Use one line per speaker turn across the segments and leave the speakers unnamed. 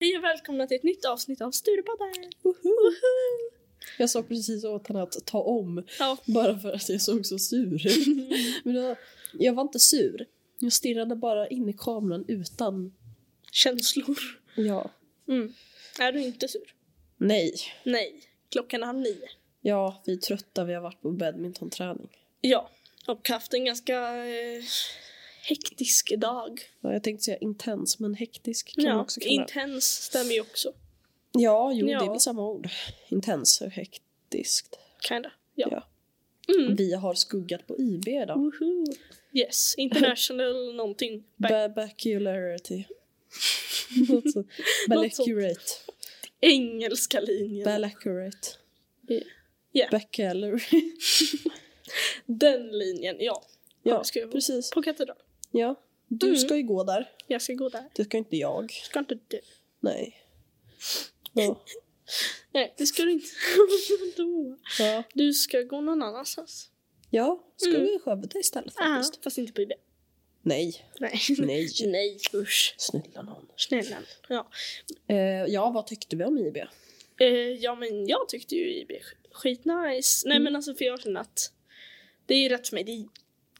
Hej och välkomna till ett nytt avsnitt av Sturepodden!
Jag sa precis åt henne att ta om
Ja.
bara för att jag såg så sur ut. Men jag, jag var inte sur. Jag stirrade bara in i kameran utan...
Känslor.
Ja.
Mm. Är du inte sur?
Nej.
Nej. Klockan är halv nio.
Ja, vi är trötta. Vi har varit på badmintonträning.
Ja. Och haft en ganska eh, hektisk dag.
Ja, jag tänkte säga intens, men hektisk kan man
ja.
också kalla det.
Intens stämmer ju också.
Ja, jo, det
Ja.
är väl samma ord. Intens och hektiskt.
Kinda. Ja.
Ja.
Mm.
Vi har skuggat på IB idag.
Woho. Yes. International någonting. Back.
Ba- Bacularity. Något sånt. Balacurate.
Engelska linjen.
Balacurate.
Ja.
Bacalary.
Den linjen, ja.
Ja,
Vad ska jag-
precis.
På katedral.
Ja. Du
Mm.
ska ju gå där.
Jag ska gå där.
Det ska inte jag.
Ska inte du?
Nej. Ja.
Nej, det ska du inte. Vadå?
Ja.
Du ska gå någon annanstans.
ja, ska
Mm.
vi i Skövde istället faktiskt?
Faktiskt. Fast inte på IB.
Nej,
Nej.
nej.
Nej, usch.
Snälla nån.
Snälla. Ja.
Eh, ja, vad tyckte vi om IB?
Eh, ja, men jag tyckte ju IB sk- skitnice. Nej,
Mm.
men alltså för jag känner att det är ju rätt för mig. Det är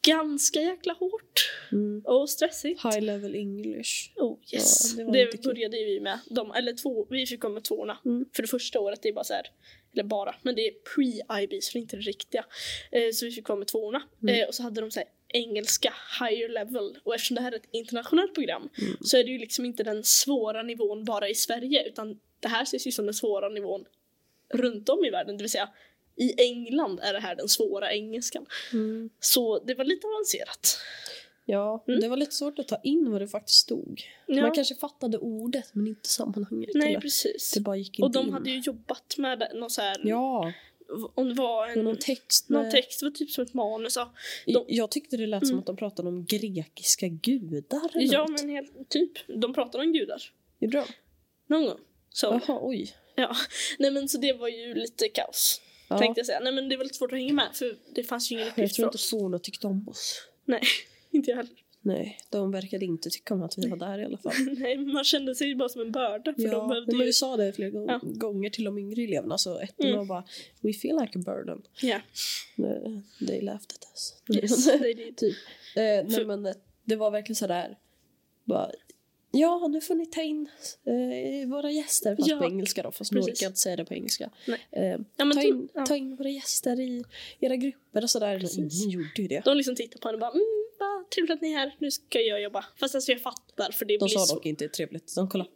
ganska jäkla hårt
Mm.
och stressigt.
High level English.
Oh yes.
Ja, det var
det
lite kul.
började ju vi med. De, eller två, vi fick komma med tvåorna.
Mm.
För det första året, det är bara så här, eller bara, men det är pre-IB så det är inte det riktiga. Eh, så vi fick komma med tvåorna.
Mm.
Eh, och så hade de så här engelska higher level och eftersom det här är ett internationellt program
Mm.
så är det ju liksom inte den svåra nivån bara i Sverige utan det här ses ju som den svåra nivån runt om i världen. Det vill säga i England är det här den svåra engelskan.
Mm.
Så det var lite avancerat.
Ja,
Mm.
det var lite svårt att ta in vad det faktiskt stod.
Ja,
Man kanske fattade ordet men inte sammanhanget.
nej
eller?
precis.
Det bara gick inte
Och de
in.
hade ju jobbat med någon så här,
Ja, Mm.
om det var
det var
en,
någon text.
Mm. någon
med-
text, det var typ som ett manus. Ja,
Jag- Jag tyckte det lät som
Mm.
att de pratade om grekiska gudar eller
ja
något.
men helt, typ, de pratade om gudar.
Gjorde de?
Någon gång. Så,
Jaha, oj.
nej men så det var ju lite kaos,
Ja.
tänkte jag säga. Nej men det var lite svårt att hänga med för det fanns ju ingen
Jag
uppgift för
tror inte
oss.
Sona tyckte om oss.
Inte jag heller.
Nej, de verkade inte tycka om att vi var där i alla fall.
nej, men man kände sig ju bara som en börda för de
Ja,
behövde
men
ju...
vi sa det flera gång-
Ja.
gånger till de yngre eleverna. Så ett mm.
Mm.
var bara “We feel like a burden”.
Ja,
Eh, They laughed at us.
yes, det är det.
typ. Eh, nej,
För-
men eh, det var verkligen sådär. Bara, ja, nu får ni ta in eh, våra gäster. Fast
Ja,
på engelska då, fast nu
precis.
orkar jag inte säga det på engelska.
Nej.
Eh,
Ja, men
ta,
typ-
in,
ja.
ta in våra gäster i era grupper och sådär.
Precis.
Ingen gjorde ju det.
De liksom tittade på henne och bara mm, vad trevligt att ni är här, nu ska jag jobba. Fast alltså jag fattar för det
De
blir
sa
så...
dock inte trevligt. De kollade.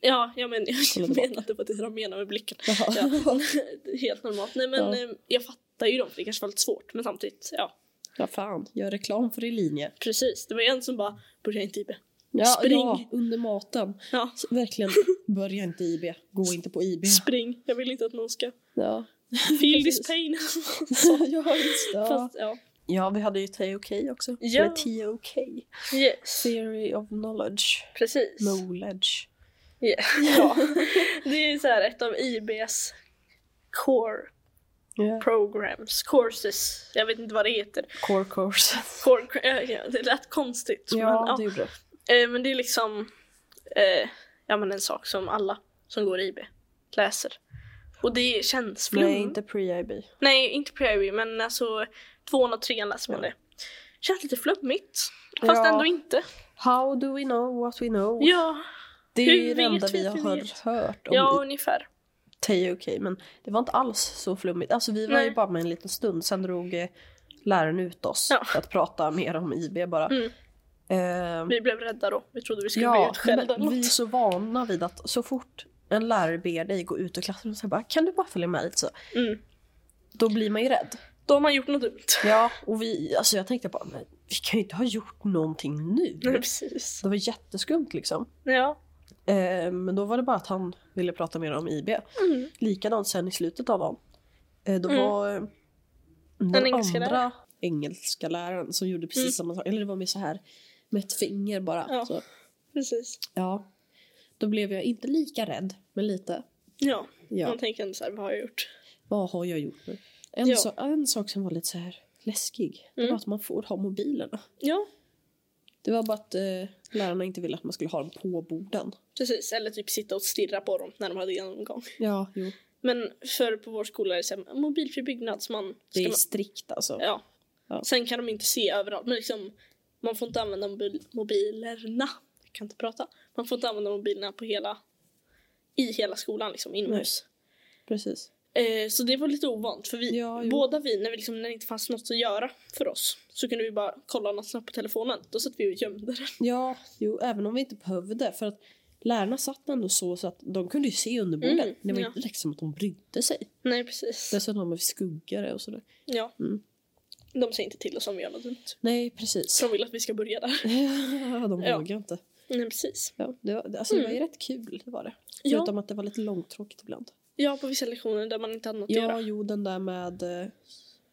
Ja, ja men,
Kolla
jag
tillbaka.
menade på det de menade med blicken.
Jaha.
Ja, helt normalt. Nej men
Ja.
eh, jag fattar ju dem för det kanske var lite svårt men samtidigt, ja
Ja, fan. Gör reklam för din linje.
precis. Det var ju en som bara, börja inte IB.
Ja,
Spring.
ja, under maten.
Ja,
Så Verkligen, börja inte IB. Gå inte på IB.
spring. Jag vill inte att någon ska
Ja,
feel
Precis.
this pain.
ja just det. Ja.
Fast, ja.
ja, vi hade ju TOK också.
Ja.
Eller TOK.
Yes,
Theory of knowledge.
precis.
Knowledge.
Yeah. Ja. Det är så här ett av IBs core
Ja.
programs, courses. Jag vet inte vad det heter.
Core course.
Core, ja, ja, det lät konstigt. men, ja.
gjorde det.
Eh, men det är liksom eh, ja, men en sak som alla som går IB läser. Och det känns flum.
Nej, inte pre-IB.
Nej, inte Prairie, men alltså tvåan och trean läser man
Ja.
det. Känns lite flummigt. Fast
Ja.
ändå inte.
How do we know what we know?
Ja,
det är
hur
ju det
vet
enda
vi
vi
att
har
vi
hör,
vet?
hört om
ja ungefär.
TOK. Men det var inte alls så flummigt. Alltså vi var
Nej.
ju bara med en liten stund. Sen drog eh, läraren ut oss
Ja.
för att prata mer om IB bara.
Mm.
Ehm,
Vi blev rädda då. Vi trodde vi skulle bli
Ja,
utskällda. eller
men vi är
något.
så vana vid att så fort en lärare ber dig gå ut ur klassrummet så bara kan du bara följa med lite så.
Mm.
Då blir man ju rädd.
Då har man gjort något dumt.
Ja, och vi, alltså jag tänkte bara men vi kan ju inte ha gjort någonting nu.
Nej, precis.
Det var jätteskumt liksom.
Ja.
Eh, men då var det bara att han ville prata mer om IB.
Mm.
Likadant sen i slutet av dagen. Eh, då
Mm.
var eh, den
En engelska lärare.
andra engelska läraren som gjorde precis
Mm.
samma sak. Eller det var mer så här med ett finger bara.
Ja.
Så,
Precis.
ja. Då blev jag inte lika rädd, men lite.
Ja,
Ja.
man tänker ändå så här, vad har jag gjort?
Vad har jag gjort nu? En,
Mm. Ja.
så, en sak som var lite så här läskig, det
Mm.
var att man får ha mobilerna.
Ja,
Det Det var bara att eh, lärarna inte ville att man skulle ha dem på borden.
Precis, eller typ sitta och stirra på dem när de hade genomgång.
Ja, jo.
Men för på vår skola är det så här, mobilfri byggnad så man...
Det
ska
är
man
strikt alltså.
ja.
Ja.
Sen kan de inte se överallt, men liksom man får inte använda mobil, mobilerna. Jag kan inte prata. Man får inte använda mobilerna på hela, i hela skolan liksom inomhus.
Precis.
Eh, så det var lite ovant för vi,
Ja, jo.
båda vi, när, vi liksom, när det inte fanns något att göra för oss så kunde vi bara kolla något snabbt på telefonen. Då satt vi och gömde den.
Ja, jo, även om vi inte behövde. För att lärarna satt ändå så, så att de kunde ju se under borden.
Mm,
det var
ja.
inte liksom att de brydde sig.
Nej precis.
Dessutom har vi skuggare och sådär.
Ja.
Mm.
De säger inte till oss om vi gör något dumt.
Nej, precis.
Så de vill att vi ska börja där.
de
Ja.
vågar inte.
Nej precis.
Ja, det, var, alltså, det var ju rätt kul, det var det.
Ja.
Förutom att det var lite långtråkigt ibland.
Ja på vissa lektioner där man inte hade något att
Ja,
göra.
jo, den där med eh,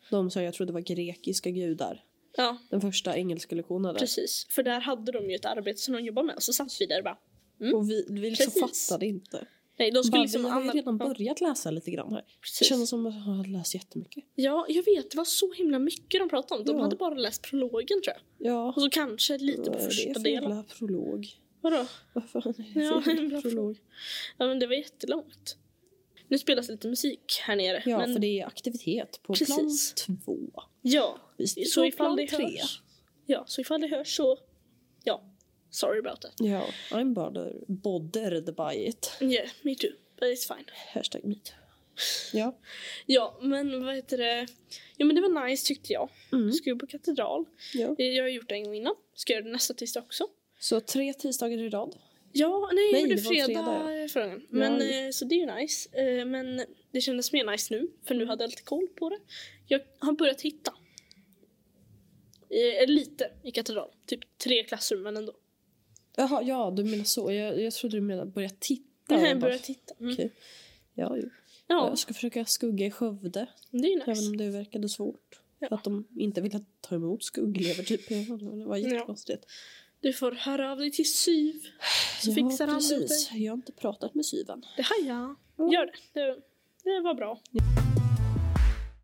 de som jag trodde var grekiska gudar.
Ja.
Den första engelska lektionen där.
Precis, för där hade de ju ett arbete som de jobbade med och så satt vi där och bara Mm.
Och vi, vi liksom
Precis.
fattade inte.
Nej, de skulle
Bara,
liksom
vi har ju
anal-
redan
ja,
börjat läsa lite grann här. Det
precis.
kändes som att jag hade läst jättemycket.
Ja, jag vet. Det var så himla mycket de pratade om. De
Ja.
hade bara läst prologen tror jag.
Ja.
Och så kanske lite på
Vad är det
första
för
delen.
jävla prolog?
Vadå?
Vad fan är det
Ja,
för
en bra
jävla prolog?
Ja, men det var jättelångt. Nu spelas lite musik här nere.
Ja,
men,
för det är aktivitet på
Precis.
plan två.
ja,
Vi ska
så
på
ifall
plan
det hörs. Ja, så ifall det hörs så... Ja, sorry about that.
Ja, I'm bothered, bothered by it.
Yeah, me too. But it's fine.
Hashtag meet. Ja.
Ja, men vad heter det? Jo, men det var nice tyckte jag.
Mm.
Ska ju på katedral.
ja.
Jag har gjort det en gång innan. Ska göra det nästa tisdag också.
Så tre tisdagar i rad.
Ja, nej, jag
Nej,
gjorde
det var
fredag,
fredag,
förra gången. Men,
Ja.
eh, Så det är ju nice. Eh, Men det kändes mer nice nu, för
Mm.
nu hade jag lite koll på det. Jag har börjat hitta. Eh, Lite i katedral. Typ tre klassrum, men ändå.
Jaha, ja du menar så. Jag, jag trodde du menade börja titta.
Nej,
Jag
jag
bara,
börjat hitta. Mm.
Okej. Ja, ju.
Ja,
Jag ska försöka skugga i Skövde,
det är ju
även
nice.
om det verkade svårt.
Ja.
För att de inte ville ta emot skuggelever typ. Ja, Det var jättekonstigt.
Du får höra av dig till SYV. Så fixar han det åt
precis. Jag har inte pratat med syven.
Det här ja.
Ja.
Gör det. det. Det var bra.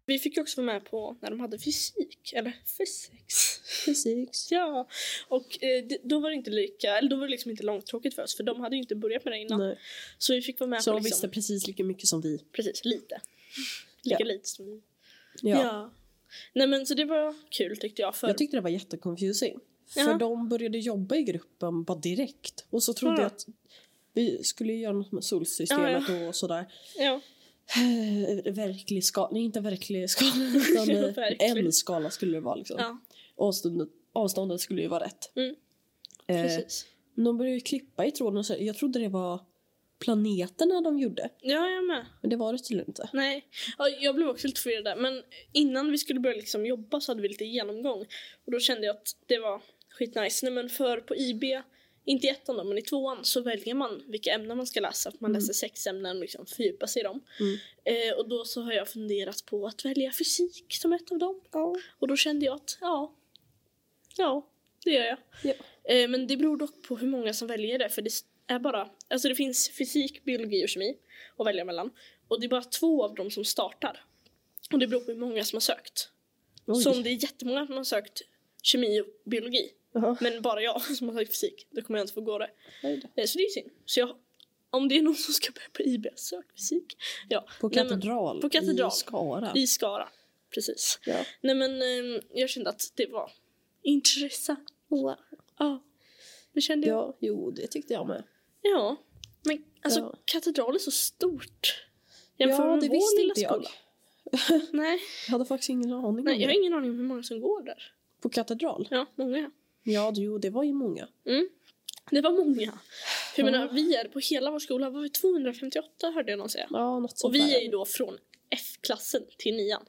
Vi fick ju också vara med på när de hade fysik, eller physics.
Precis.
Ja, och eh, det- då var det inte lika, eller då var det liksom inte långtråkigt för oss för de hade ju inte börjat med det innan.
Nej.
Så vi fick vara med
Så
på
de
liksom,
visste precis lika mycket som vi.
precis, lite. Lika
Ja.
lite som vi.
Ja.
Nej men så det var kul tyckte jag för
Jag tyckte det var jätteconfusing.
Jaha.
För de började jobba i gruppen bara direkt. Och så trodde
Ja.
jag att vi skulle göra något med solsystemet och sådär.
ja,
Eh, Verklig skala, nej inte verklig skala utan eh,
Verklig.
en skala skulle det vara liksom.
ja,
Avståndet, avståndet skulle ju vara rätt.
Mm.
Eh,
precis.
men de började ju klippa i tråden och så, jag trodde det var planeterna de gjorde.
Ja, jag med.
Men det var det tydligen inte.
Nej, ja, jag blev också lite förvirrad där. Men innan vi skulle börja liksom jobba så hade vi lite genomgång. Och då kände jag att det var skitnice. Nej men för på IB, inte i ettan då, men i tvåan så väljer man vilka ämnen man ska läsa. För man
Mm.
läser sex ämnen och liksom fördjupar sig i dem.
Mm.
Eh, och då så har jag funderat på att välja fysik som ett av dem.
Ja.
Och då kände jag att ja, ja, det gör jag.
Ja.
Eh, men det beror dock på hur många som väljer det. För det är bara, alltså det finns fysik, biologi och kemi att välja mellan. Och det är bara två av dem som startar. Och det beror på hur många som har sökt.
Oj.
Så om det är jättemånga som har sökt kemi och biologi,
Jaha.
men bara jag som har sökt fysik, då kommer jag inte få gå det.
Oj då.
Eh, Så det är synd. Så jag, om det är någon som ska börja på IB, sök fysik. Ja.
På
Nej, men-
katedral,
på katedral.
i Skara.
I Skara. Precis.
Ja.
Nej men ehm, jag kände att det var intressant.
Wow.
Ja. Det kände jag.
Ja, jo det tyckte jag med.
Ja. Men alltså
Ja.
katedral är så stort. Jämfört med vår lilla skola. Nej,
Jag hade faktiskt ingen aning
nej,
om
jag
det.
har ingen aning om hur många som går där.
På katedral?
Ja, många.
Ja, det- jo det var ju många.
Mm. Det var många. För jag
Ja.
menar, vi är på hela vår skola, var vi 258 hörde jag någon säga.
Ja, något sånt
Och vi
där.
är ju då från F-klassen till nian.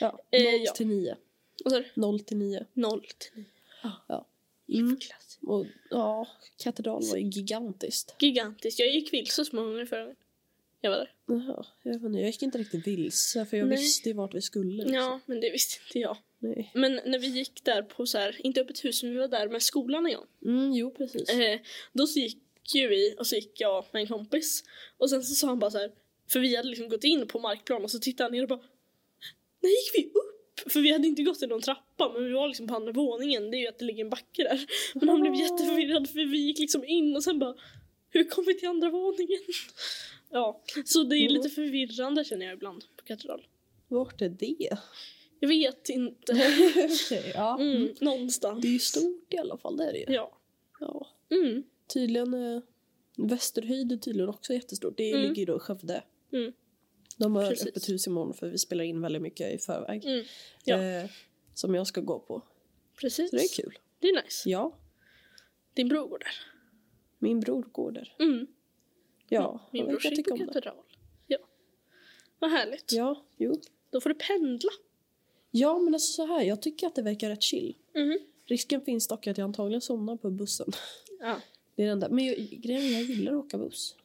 Ja, 0
eh, ja.
till 9.
Och så är det
0 till 9.
0 till 9.
Mm.
F-klass.
Och, ja, katedral var ju gigantiskt.
Gigantiskt. Jag gick vilse så många gånger förra gången. Jag var där.
Jaha, jag, vet inte, jag gick inte riktigt vilse för jag
Nej.
visste ju vart vi skulle. liksom.
Ja, men det visste inte jag.
Nej.
Men när vi gick där på så här, inte öppet hus, men vi var där med skolan en gång.
Mm, jo, precis.
Eh, då så gick ju vi och så gick jag med en kompis. Och sen så sa han bara så här, för vi hade liksom gått in på markplan och så tittade han ner och bara, när gick vi upp? För vi hade inte gått i någon trappa, men vi var liksom på andra våningen. Det är ju att det ligger en backe där. Men han blev
Ah.
jätteförvirrad för vi gick liksom in och sen bara, hur kom vi till andra våningen? Ja, så det är
Mm.
lite förvirrande känner jag ibland på katedral.
Vart är det?
Jag vet inte.
Okej, ja.
Mm, någonstans.
Det är ju stort i alla fall, det är det ju.
Ja.
Ja.
Mm.
Tydligen, eh, Västerhöjd är tydligen också jättestort. Det
Mm.
ligger ju då i Skövde.
Mm.
De har
Precis.
öppet hus imorgon för vi spelar in väldigt mycket i förväg.
Mm. Ja.
Eh, som jag ska gå på.
Precis.
Så det är kul.
Det är nice.
Ja,
Din bror går där.
min bror går där.
Mm.
Ja,
Min
jag vet,
brorsa
jag
gick
tycker
på
om det.
katedral. Ja. Vad härligt.
Ja, jo.
Då får du pendla.
Ja, men alltså så här, jag tycker att det verkar rätt chill.
Mhm.
Mm-hmm. Risken finns dock att jag antagligen somnar på bussen.
Ja.
Det är den där. Men jag, grejen är jag gillar att åka buss.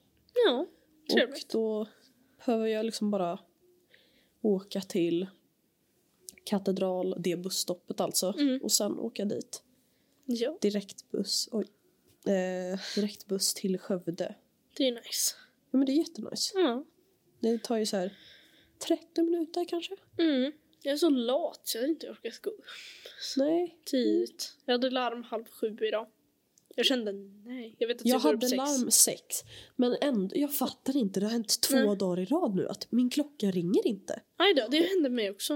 Ja. Trevligt.
Och då behöver jag liksom bara åka till katedral, det busstoppet alltså.
Mm.
Och sen åka dit.
Ja,
Direktbuss. Oj. Eh, direktbuss till Skövde.
det är nice.
Ja, men det är jättenice.
Ja.
Det tar ju så här 30 minuter kanske.
Mm. Jag är så lat så jag hade inte orkat gå upp
Nej.
tidigt.
Mm.
Jag hade larm halv sju idag. Jag kände nej. Jag vet att jag,
Jag
går upp
hade
sex.
larm sex. Men ändå, jag fattar inte. Det har hänt två
Nej.
dagar i rad nu att min klocka ringer inte.
Aj då, det hände mig också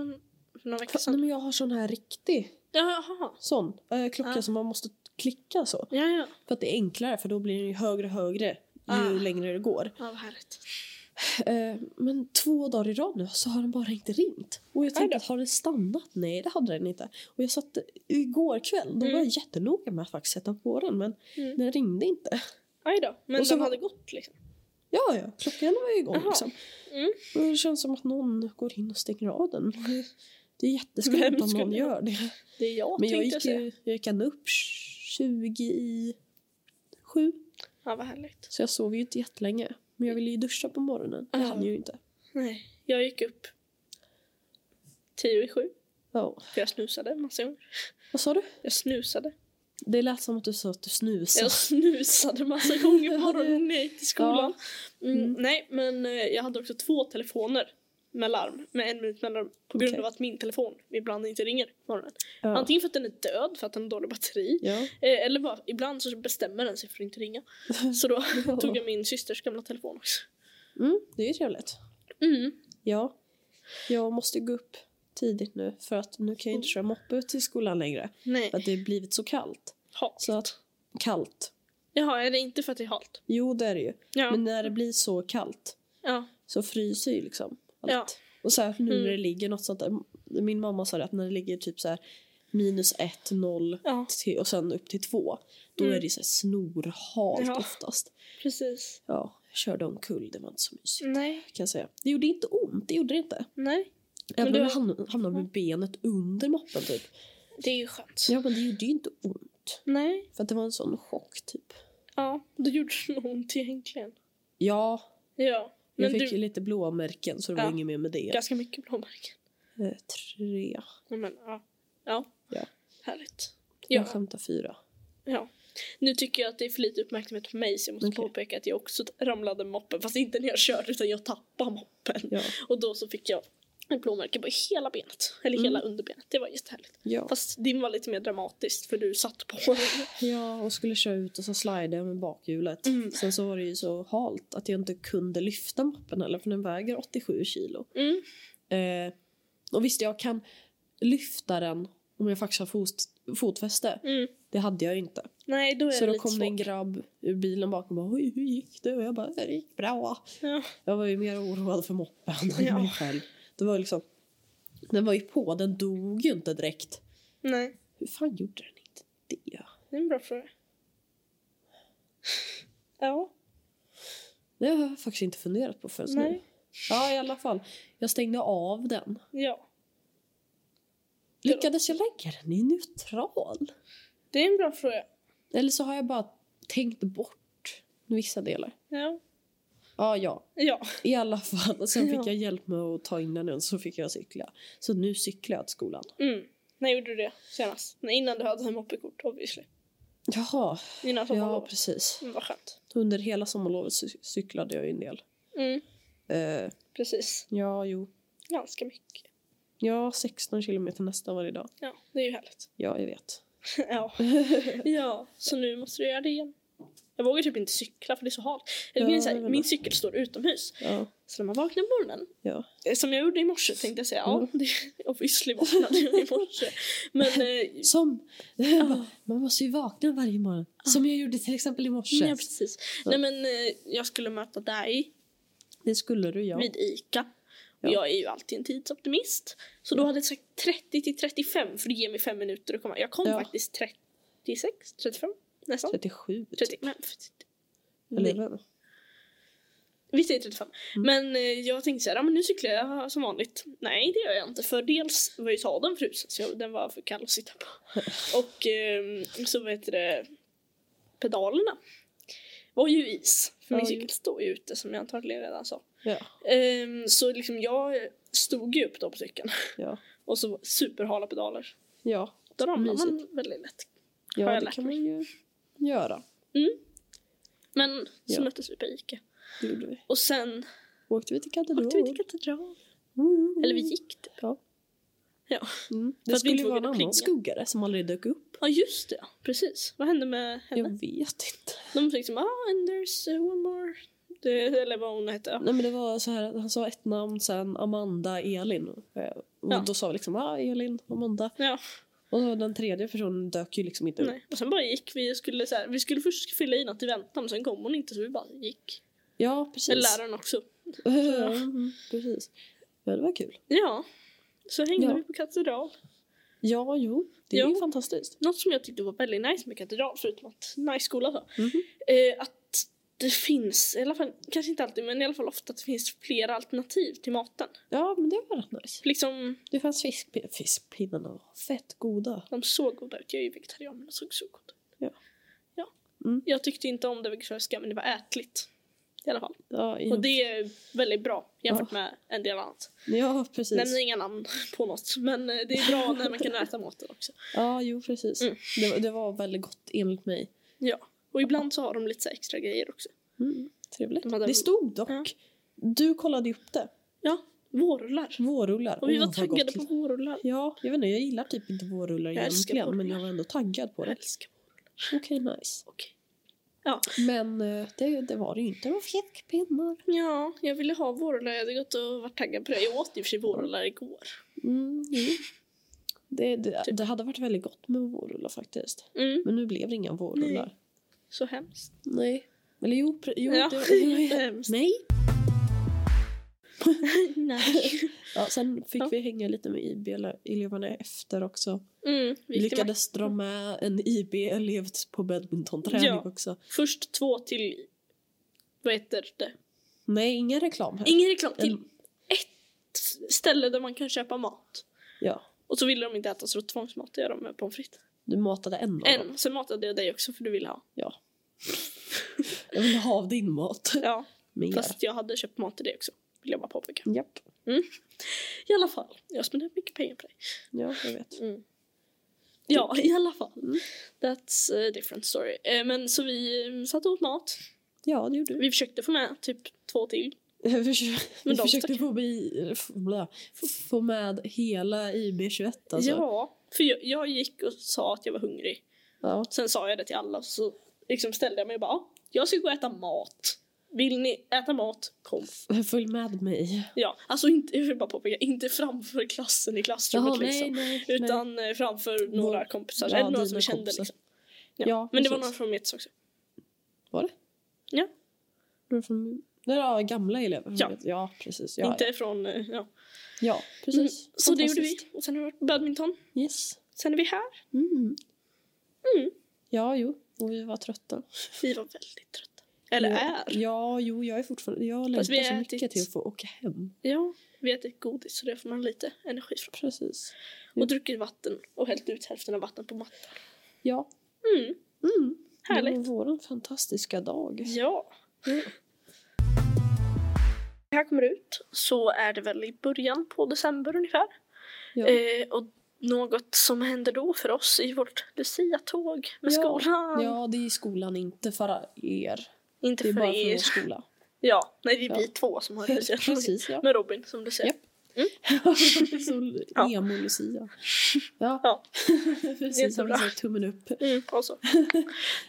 för några veckor
Nej,
sedan.
men jag har sån här riktig
Jaha.
sån eh, klocka
Ja.
som man måste klicka så.
Ja, ja.
För att det är enklare för då blir den ju högre och högre ju
Ah.
längre det går.
Ja, vad härligt.
Eh, men två dagar i rad nu så har den bara inte ringt. Och jag tänkte,
då.
att, har den stannat? Nej, det hade den inte. Och jag satt igår kväll, då
Mm.
var jag jättenoga med att faktiskt sätta på den men
Mm.
den ringde inte.
Aj då. Men
Och så
de
var-
hade gått liksom.
Ja, ja, klockan var ju igång
Aha.
liksom.
Mm.
Och det känns som att någon går in och stänger av den. Det är
Vem
jätteskumt om någon
skulle-
gör det.
Det är jag
Men jag
tänkte jag
gick,
säga.
ju, jag gick ändå upp 20 i sju.
Ja, vad härligt.
Så jag sov ju inte jättelänge. Men jag ville ju duscha på morgonen. Det
Ja.
hann jag ju inte.
Nej, jag gick upp tio i sju.
Ja.
För jag snusade en massa gånger.
Vad sa du?
Jag snusade.
Det lät som att du sa att du snusade.
Jag snusade massa gånger på morgonen när jag gick till skolan. Mm,
Mm.
nej, men eh, jag hade också två telefoner med larm med en minut mellanrum på grund
Okej.
av att min telefon ibland inte ringer på morgonen.
Ja.
Antingen för att den är död, för att den har dålig batteri.
Ja.
eh, Eller bara, ibland så bestämmer den sig för att inte ringa. Så då
Ja.
tog jag min systers gamla telefon också.
Mm, det är ju trevligt.
Mm.
Ja. Jag måste gå upp tidigt nu för att nu kan jag inte köra moppe till skolan längre.
Nej.
För att det har blivit så kallt.
Halt.
Så att kallt.
Jaha, är det inte för att det är halt?
Jo, det är det ju.
Ja.
Men när det blir så kallt
ja.
så fryser ju liksom allt.
Ja.
Och särskilt nu
Mm.
när det ligger något sånt där. Min mamma sa det att när det ligger typ så här minus ett, noll
ja.
till, och sen upp till två. Då
Mm.
är det så här snorhalt
Ja.
oftast.
Precis.
Ja, jag körde omkull. Det var inte så mysigt
Nej.
kan jag säga. Det gjorde inte ont, det gjorde det inte.
Nej.
Även
det
om jag
var-
hamn- hamnade med benet under moppen typ.
Det är ju skönt.
Ja, men det gjorde ju inte ont.
Nej.
För att det var en sån chock typ.
Ja, det gjorde nog ont egentligen.
Ja,
Ja.
jag
Men
fick
du,
ju lite blåmärken så det
Ja.
var inget mer med det.
ganska mycket blåmärken.
Eh, tre.
Ja, Men, ja. Ja.
Ja.
Härligt.
Jag
Ja.
skämtar fyra.
ja. Nu tycker jag att det är för lite uppmärksamhet på mig så jag måste
Okej.
påpeka att jag också ramlade med moppen. Fast inte när jag körde utan jag tappade moppen.
Ja.
Och då så fick jag ett blåmärke på hela benet. Eller
Mm.
hela underbenet. Det var jättehärligt.
Ja.
Fast din var lite mer dramatiskt för du satt på den.
Ja, och skulle köra ut och så slidade jag med bakhjulet.
Mm.
Sen så var det ju så halt att jag inte kunde lyfta moppen heller för den väger 87 kilo.
Mm.
Eh, och visst, jag kan lyfta den om jag faktiskt har fot, fotfäste.
Mm.
Det hade jag ju inte.
Nej, då är
Så
det
då
lite
kom
svårt.
det en grabb ur bilen bakom och bara Oj, hur gick det? Och jag bara, det gick bra.
Ja.
Jag var ju mer oroad för moppen än
Ja.
mig själv. Det var liksom, den var ju på, den dog ju inte direkt.
Nej,
Hur fan gjorde den inte det?
det är en bra fråga. ja.
Det har jag faktiskt inte funderat på förrän nu.
Nej.
Ja, i alla fall. Jag stängde av den.
Ja.
Lyckades jag lägga den i neutral?
Det är en bra fråga.
Eller så har jag bara tänkt bort vissa delar.
Ja.
Ja, ja.
Ja.
I alla fall. Och sen fick
Ja.
jag hjälp med att ta in den och så fick jag cykla. Så nu cyklar jag till skolan.
Mm. När gjorde du det senast? Nej, innan du hade moppekort obviously.
Jaha,
Innan
ja
sommarlovet.
precis.
Mm, vad skönt.
Under hela sommarlovet cy- cyklade jag ju en del.
Mm.
Eh,
Precis.
ja, jo.
Ganska mycket.
Ja, 16 kilometer nästan varje dag.
Ja, det är ju härligt.
Ja, jag vet.
ja. ja, så nu måste du göra det igen. Jag vågar typ inte cykla för det är så halt. Eller
Ja,
grejen är så här,
jag vet
min
inte.
cykel står utomhus.
Ja,
Så när man vaknar på morgonen,
ja.
eh, som jag gjorde i morse tänkte jag säga, ja,
Mm.
det, obviously vaknade jag i morse. Men eh,
Som.
ja,
Man måste ju vakna varje morgon. Som jag gjorde till exempel i morse.
ja, precis.
Ja.
Nej men eh, jag skulle möta dig
Det skulle du, ja.
vid ICA.
Ja.
Och jag är ju alltid en tidsoptimist. Så då hade jag sagt 30 till 35 för det ger mig fem minuter att komma. Jag kom
Ja.
faktiskt 36, 35 nästan.
37.
30, men,
Eller
nej.
vad?
Vi säger 35.
Mm.
Men eh, jag tänkte så här, ja, men nu cyklar jag som vanligt. Nej, det gör jag inte. För dels var ju sadeln frusen, så jag, den var för kall att sitta på. Och ehm, så vad heter det, pedalerna var ju is. För min
Ja,
cykel står ju ute som jag antagligen redan sa.
Ja,
Ehm, så liksom jag stod ju upp då på cykeln.
ja.
Och så superhala pedaler.
Ja,
Då ramlar man
Mysigt.
väldigt lätt. Har
ja
jag
det
lärt
kan
mig.
man ju göra.
Men så
Ja.
möttes vi på Ica.
Det gjorde vi.
Och sen
Åkte vi till Katedral.
åkte vi till katedral.
Ooh.
Eller vi gick det.
Ja.
Ja.
Mm.
För
Det
att vi
skulle
inte
ju vara en
vågade
annan
plinga.
skuggare som aldrig dök upp.
Ja just det, precis. Vad hände med henne?
Jag vet inte.
De liksom ah and there's uh, one more. Det, eller vad hon hette. Ja.
Nej, men det var så här, att han sa ett namn, sen Amanda, Elin. Eh, Och
Ja.
Då sa vi liksom ah, Elin, Amanda.
ja
Och så den tredje personen dök ju liksom inte upp.
nej. Och sen bara gick vi och skulle så här, vi skulle först fylla i något i väntan men sen kom hon inte så vi bara gick.
Ja, precis.
Eller läraren också.
Ja, mm, precis. Ja, det var kul.
Ja. Så hängde
Ja.
vi på katedral.
Ja, jo. Det är
Ja.
ju fantastiskt.
Något som jag tyckte var väldigt nice med katedral förutom att nice skola så.
Mhm.
Eh, att det finns, i alla fall kanske inte alltid men i alla fall ofta att det finns flera alternativ till maten.
Ja, men det var rätt nice.
Liksom
Det fanns fiskpinnar. Fiskpinnarna var fett goda.
De såg goda ut. Jag är ju vegetarian men de såg så goda ut.
Ja.
ja.
Mm.
Jag tyckte inte om det vegetariska men det var ätligt. I alla fall.
Ja,
Och det är väldigt bra jämfört
Ja.
med en del annat.
ja precis.
Nämner inga namn på något men eh, det är bra när man kan äta maten också.
Ja, jo precis.
Mm.
Det, var- det var väldigt gott enligt mig.
Ja. Och ibland så har de lite så här extra grejer också. Mm.
Trevligt.
De hade-
Det stod dock.
Ja.
Du kollade ju upp det.
Ja, vårrullar.
Vårrullar.
Och vi
Åh,
var
vad
taggade
gott.
på vårrullar.
Ja, jag vet inte, jag gillar typ inte vårrullar
Jag älskar
egentligen men
vårrullar.
jag var ändå taggad på
Jag
det.
älskar vårrullar.
Okej, nice.
Okej.
Men eh, det, det var det ju inte. Det var fiskpinnar.
Ja, jag ville ha vårrullar. Jag hade gått och varit taggad på det. Jag åt i och för sig vårrullar igår.
Mm, jo. det, det,
Typ.
det hade varit väldigt gott med vårrullar faktiskt.
Mm,
Men nu blev det inga vårrullar.
så hemskt.
Nej. Eller jo, pre- jo
ja,
det, det,
jättehemskt.
Nej.
Nej.
Ja, sen fick
Ja.
vi hänga lite med IB-eleverna efter också.
Mm, vi gick till Mac.
lyckades dra med en IB-elev på badmintonträning
Ja.
också.
Först två till... Vad heter det?
Nej, ingen reklam här.
Ingen reklam. Till
En-
ett ställe där man kan köpa mat.
Ja,
Och så ville de inte äta så då tvångsmatade jag dem med pommes frites.
du matade en av dem.
En. Sen matade jag dig också för du ville ha.
Ja. jag vill ha av din mat.
Ja,
Mer.
fast jag hade köpt mat till dig också. Vill jag bara påpeka.
Japp.
I alla fall. Jag spenderade mycket pengar på dig.
Ja, jag vet.
Ja, i alla fall.
Mm.
That's a different story. Eh, Men så vi eh, satt och åt mat.
Ja, det gjorde vi.
Vi försökte få med typ två till.
Vi försökte,
Men
vi
de
försökte
stack-
få, bi, f- bla, f- få med hela IB21 alltså.
Ja, för jag, jag gick och sa att jag var hungrig.
ja.
Sen sa jag det till alla och så liksom ställde jag mig och bara "Ja, jag ska gå och äta mat. Vill ni äta mat? Kom.
F- Följ med mig.
Ja, alltså inte, jag vill bara påpeka, inte framför klassen i klassrummet liksom.
nej,
Utan eh, framför
Vår-
några kompisar.
Ja,
eller några som
dina
vi kände
kompisar.
liksom. Ja.
Ja,
Men det var några
precis.
från mitt också.
Var det?
Ja.
Det var från, nej, ja, gamla elever.
Ja.
ja precis. Ja,
inte från, eh, ja.
ja. ja precis.
Mm, så det gjorde vi.
Fantastiskt.
Och sen har vi varit badminton.
Yes.
Sen är vi här.
Mm.
Mm.
Ja, jo. Och vi var trötta.
Vi var väldigt trötta. Eller
ja.
är.
Ja, jo, jag är fortfarande... Jag
Fast vi
längtar så
har
mycket
ätit-
till att få åka hem.
Ja, vi äter godis så det får man lite energi från.
Precis.
Och druckit vatten och hällt ut hälften av vatten på mattan.
Ja.
Mm,
Mm.
härligt.
Det var våran fantastiska dag.
Ja.
Mm.
Det här kommer ut så är det väl i början på december ungefär.
Ja.
Eh, och något som händer då för oss i vårt Lucia-tåg med
Ja.
skolan.
Ja, det är i skolan, inte för er.
Inte
Det är
för
bara för
er.
vår skola.
Ja, nej det är vi
Ja.
två som har Lucia-tåg.
Precis, ja.
Med Robin som du säger.
Japp.
Mm.
Som
Ja.
emo-lucia. Ja,
Ja.
precis. Som
Jättebra.
så här tummen upp.
Mm, och så.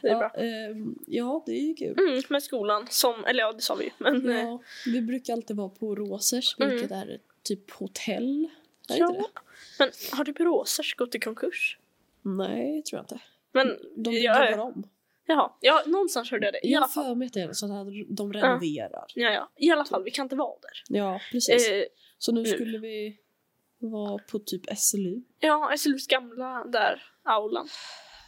Det är
ja,
bra.
ehm, ja, det är ju kul.
Mm, med skolan som, eller ja det sa vi ju, men eh,
Ja, vi brukar alltid vara på Rosers, vilket är typ hotell. Är
Mm. ja.
inte det?
Men har typ Rosers gått i konkurs?
Nej, jag tror jag inte.
Men Ja,
De bygger
ja.
bara om.
jaha, ja någonstans hörde jag det. I
Jag
alla
har
fall.
för mig att det är så att de renoverar.
Ja, ja. I alla fall, vi kan inte vara där.
Ja, precis.
Eh,
Så nu
nu.
skulle vi vara på typ SLU.
ja, SLUs gamla där, aulan.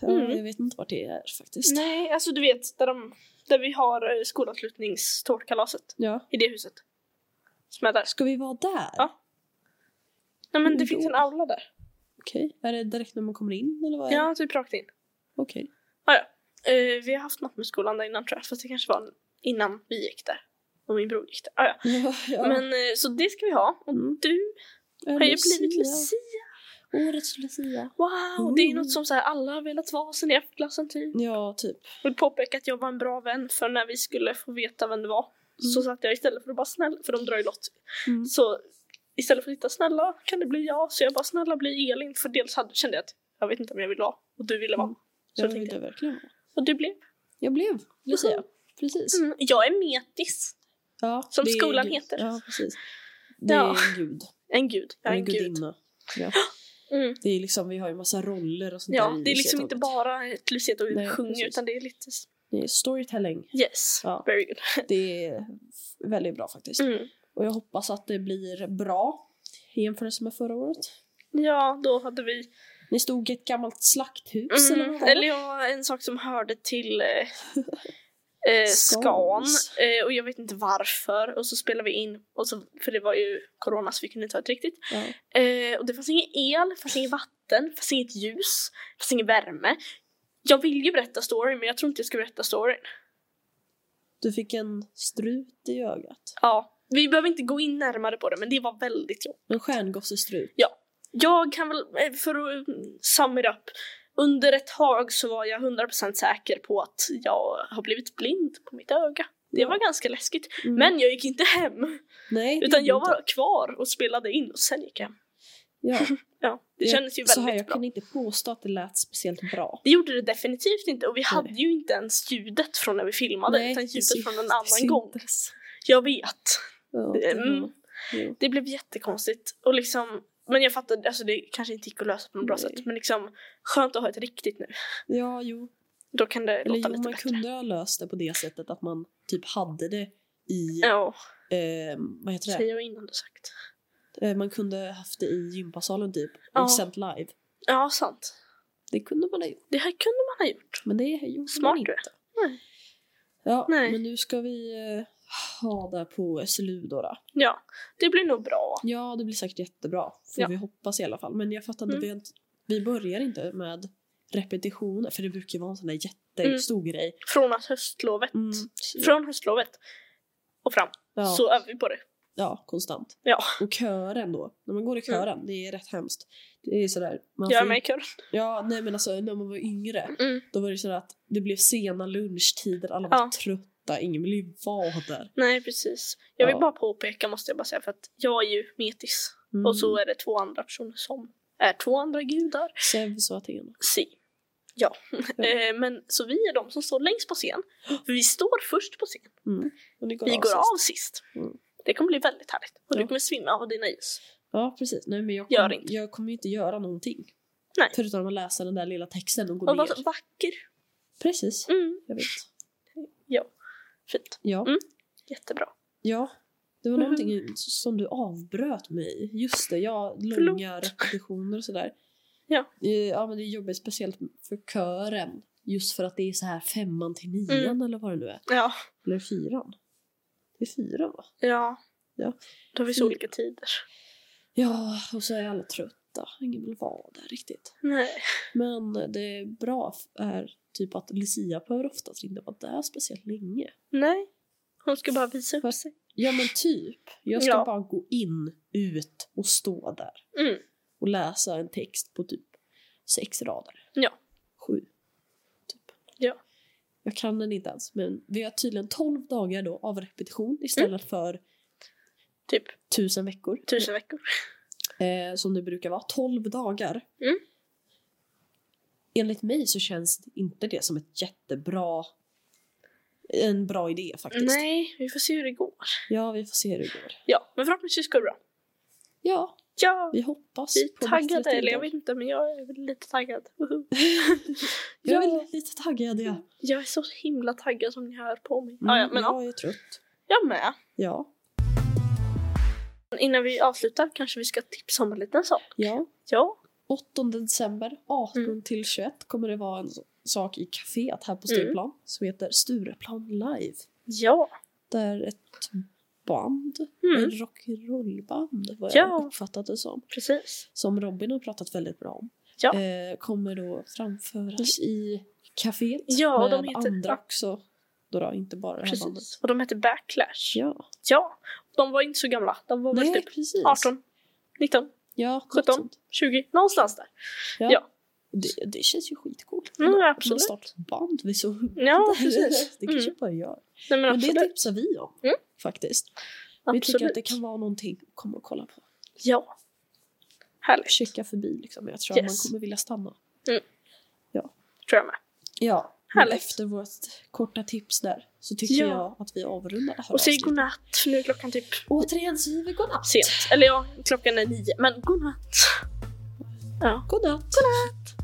Ja,
Mm.
Jag vet inte vart det är faktiskt.
Nej, alltså du vet där, de, där vi har eh, skolavslutningstårtkalaset.
Ja.
I det huset. Som är där.
Ska vi vara där?
Ja. Nej men det
Mm,
finns
då.
en aula där.
Okej. Är det direkt när man kommer in eller vad är det?
Ja, typ rakt in.
Okej.
Eh, vi har haft något med skolan där innan tror jag. Fast det kanske var innan vi gick där. Och min bror gick där. Ah, ja.
Ja, ja.
Men eh, så det ska vi ha. Och
Mm.
du
Är
har ju
Lucia?
blivit Lucia.
Årets Lucia.
Wow! Det är ju
Mm.
något som så här, alla har velat vara sen i F-klassen typ.
Ja, typ.
Vill påpeka att jag var en bra vän för när vi skulle få veta vem det var. Så satt jag istället för att bara snäll, för de drar ju lott.
Mm.
Så istället för att hitta snälla kan det bli jag? Så jag bara snälla bli Elin för dels hade, kände jag att jag vet inte om jag vill vara och du ville vara.
Mm.
Så
Jag
tänkte
vill det verkligen vara.
Och du blev.
Jag blev Lucia. Precis.
Mm, jag är metis.
Ja,
Som
det är
skolan
gud.
heter.
Ja, precis. Det
Ja.
är en gud.
En gud. Jag är en gud.
gudinna. Ja.
Mm.
Det är liksom, vi har ju massa roller och sånt där
Ja,
i
det är liksom inte
Lucia-tåget.
bara ett Lucia
Nej,
och sjunga
precis.
utan det är lite... s-
Det är storytelling.
Yes,
Ja.
very good.
Det är väldigt bra faktiskt.
Mm.
Och jag hoppas att det blir bra i jämförelse med förra året.
Ja, då hade vi...
Ni stod i ett gammalt slakthus
Mm,
eller vad var det?
eller ja, en sak som hörde till eh, eh, Scan.
Scans.
Eh, och jag vet inte varför. Och så spelade vi in, och så, för det var ju corona så vi kunde inte ha det riktigt.
Ja.
Eh, och det fanns ingen el, det fanns inget vatten, det fanns inget ljus, det fanns ingen värme. Jag vill ju berätta storyn men jag tror inte jag ska berätta storyn.
Du fick en strut i ögat.
Ja, vi behöver inte gå in närmare på det men det var väldigt jobbigt.
En stjärngossestrut.
Jag kan väl, eh, för att mm, sum it up. Under ett tag så var jag 100% säker på att jag har blivit blind på mitt öga. Det var ganska läskigt.
Mm.
Men jag gick inte hem.
Nej, det
Utan
gjorde
jag
inte.
var kvar och spelade in och sen gick jag hem.
Ja,
Ja, det
jag-
kändes ju
så här,
väldigt
jag
bra.
kan inte påstå att det lät speciellt bra.
Det gjorde det definitivt inte och vi hade ju inte ens ljudet från när vi filmade
Nej,
utan
det
ljudet
syns-
från en
det
annan
syntes.
gång. Jag vet.
Ja, det var-
Mm.
jo.
Det blev jättekonstigt och liksom men jag fattade, alltså det kanske inte gick att lösa på något bra
Nej.
sätt men liksom skönt att ha ett riktigt nu.
Ja, jo.
Då kan det
Eller
låta
jo,
lite
man
bättre.
kunde ha löst det på det sättet att man typ hade det i,
Ja, Typ.
eh, vad heter det?
säger jag innan du sagt.
Eh, man kunde haft det i gympasalen typ och
Ja.
sänt live.
Ja, sant.
Det kunde man ha gjort.
Det här kunde man ha gjort.
Men det gjorde
Smart
man
du
inte.
är. Nej.
Ja,
Nej.
men nu ska vi eh, ha det på SLU då, då.
Ja, det blir nog bra.
Ja, det blir säkert jättebra. Får
Ja.
vi hoppas i alla fall. Men jag fattar inte,
Mm.
vi, har inte- vi börjar inte med repetitioner. För det brukar vara en sån där
Mm.
jättestor grej.
Från att höstlovet,
Mm.
från höstlovet och fram
Ja,
så övar vi på det.
ja, konstant.
Ja. Mm.
Och kören då. När man går i kören, det är rätt hemskt. Det är sådär. Man
Jag är
får
med
ju-
i kör.
Ja, nej men alltså när man var yngre.
Mm.
Då var det sådär att det blev sena lunchtider, alla var
Ja.
trötta, ingen ville ju vara där.
Nej, precis. Jag vill
Ja.
bara påpeka, måste jag bara säga, för att jag är ju metis.
Mm.
Och så är det två andra personer som är två andra gudar.
Zeus och Athena.
Si. Ja.
Ja.
Eh, Men så vi är de som står längst på scen. För vi står först på scen.
Och ni går
Vi
av
går
sist.
av sist.
Mm.
Det kommer bli väldigt härligt. Och du
Ja.
kommer svimma av dina ljus.
Ja, precis. Nej, men jag,
Gör
kom,
inte.
jag kommer ju inte göra någonting.
Nej.
Förutom att läsa den där lilla texten och gå
Och
ner.
var så vacker.
Precis,
Mm,
jag vet.
fint.
Ja.
Mm. Jättebra.
ja. Det var
Mhm.
någonting som du avbröt mig i. Just det, ja,
Förlåt.
långa repetitioner och sådär.
Ja.
Eh, Ja, men det är jobbigt speciellt för kören. Just för att det är så här femman till nian
Mm.
eller vad det nu är.
Ja.
Eller fyran. Det är fyran va?
Ja.
Ja.
Då har vi så
Mm.
olika tider.
Ja, och så är alla trötta. Ingen vill vara där riktigt.
Nej.
Men det bra är typ att Lucia behöver oftast inte vara där speciellt länge.
Nej. Hon ska bara visa upp
Fast-
sig.
Ja men typ. Jag ska
Ja.
bara gå in, ut och stå där.
Mm.
Och läsa en text på typ sex rader.
Ja.
Sju. Typ.
Ja.
Jag kan den inte ens men vi har tydligen 12 dagar då av repetition istället för
Mm. Typ
tusen veckor.
tusen veckor.
eh, som det brukar vara, 12 dagar.
Mm.
Enligt mig så känns inte det som ett jättebra en bra idé faktiskt.
Mm. Nej, vi får se hur det går.
Ja, vi får se hur det går.
Ja, men förhoppningsvis går det bra.
Ja,
Ja,
vi hoppas
vi
på
är taggade.
bättre
Eller jag
tider.
vet inte, men jag är väl lite taggad. Woho.
Jag är
Ja.
väldigt lite taggad, ja.
Jag är så himla taggad som ni hör på mig.
Mm,
ja, ja, men ja,
jag är trött.
jag med.
Ja.
Men Innan vi avslutar kanske vi ska tipsa om en liten sak.
ja.
Ja,
8 december 18
Mm.
till 21 kommer det vara en s- sak i kaféet här på Stureplan som heter Stureplan live.
ja,
Där ett band,
Mm.
ett rock'n'roll-band vad
Ja.
jag uppfattat det som,
precis.
som Robin har pratat väldigt bra om.
Ja.
Eh, kommer då framföras i kaféet
Ja, och
med
de heter-
andra också. Då då, inte bara det här bandet.
precis. Och de heter Backlash.
Ja,
Ja, de var inte så gamla. De var väl
nej
typ
precis.
18, 19,
Ja, något
17.
sånt.
20, någonstans där. Ja.
Det, det känns ju skitcoolt.
Mm,
Att man
absolut.
startar ett band vid så
Ja, precis.
Det kanske
Mm.
bara jag.
Nej men
Och det
absolut.
tipsar vi om
Mm.
faktiskt. Vi
absolut.
tycker att det kan vara någonting att komma och kolla på.
Ja. Härligt,
Checka förbi liksom. Jag tror att man
Yes.
kommer vilja stanna.
tror jag med.
Ja,
Härligt.
Härligt. efter vårt korta tips där så tycker
Ja.
jag att vi avrundar det här
Och säg
avsnittet.
godnatt, för nu är klockan typ
Återigen säger vi godnatt.
sent. Eller ja, klockan är nio, men godnatt.
Godnatt.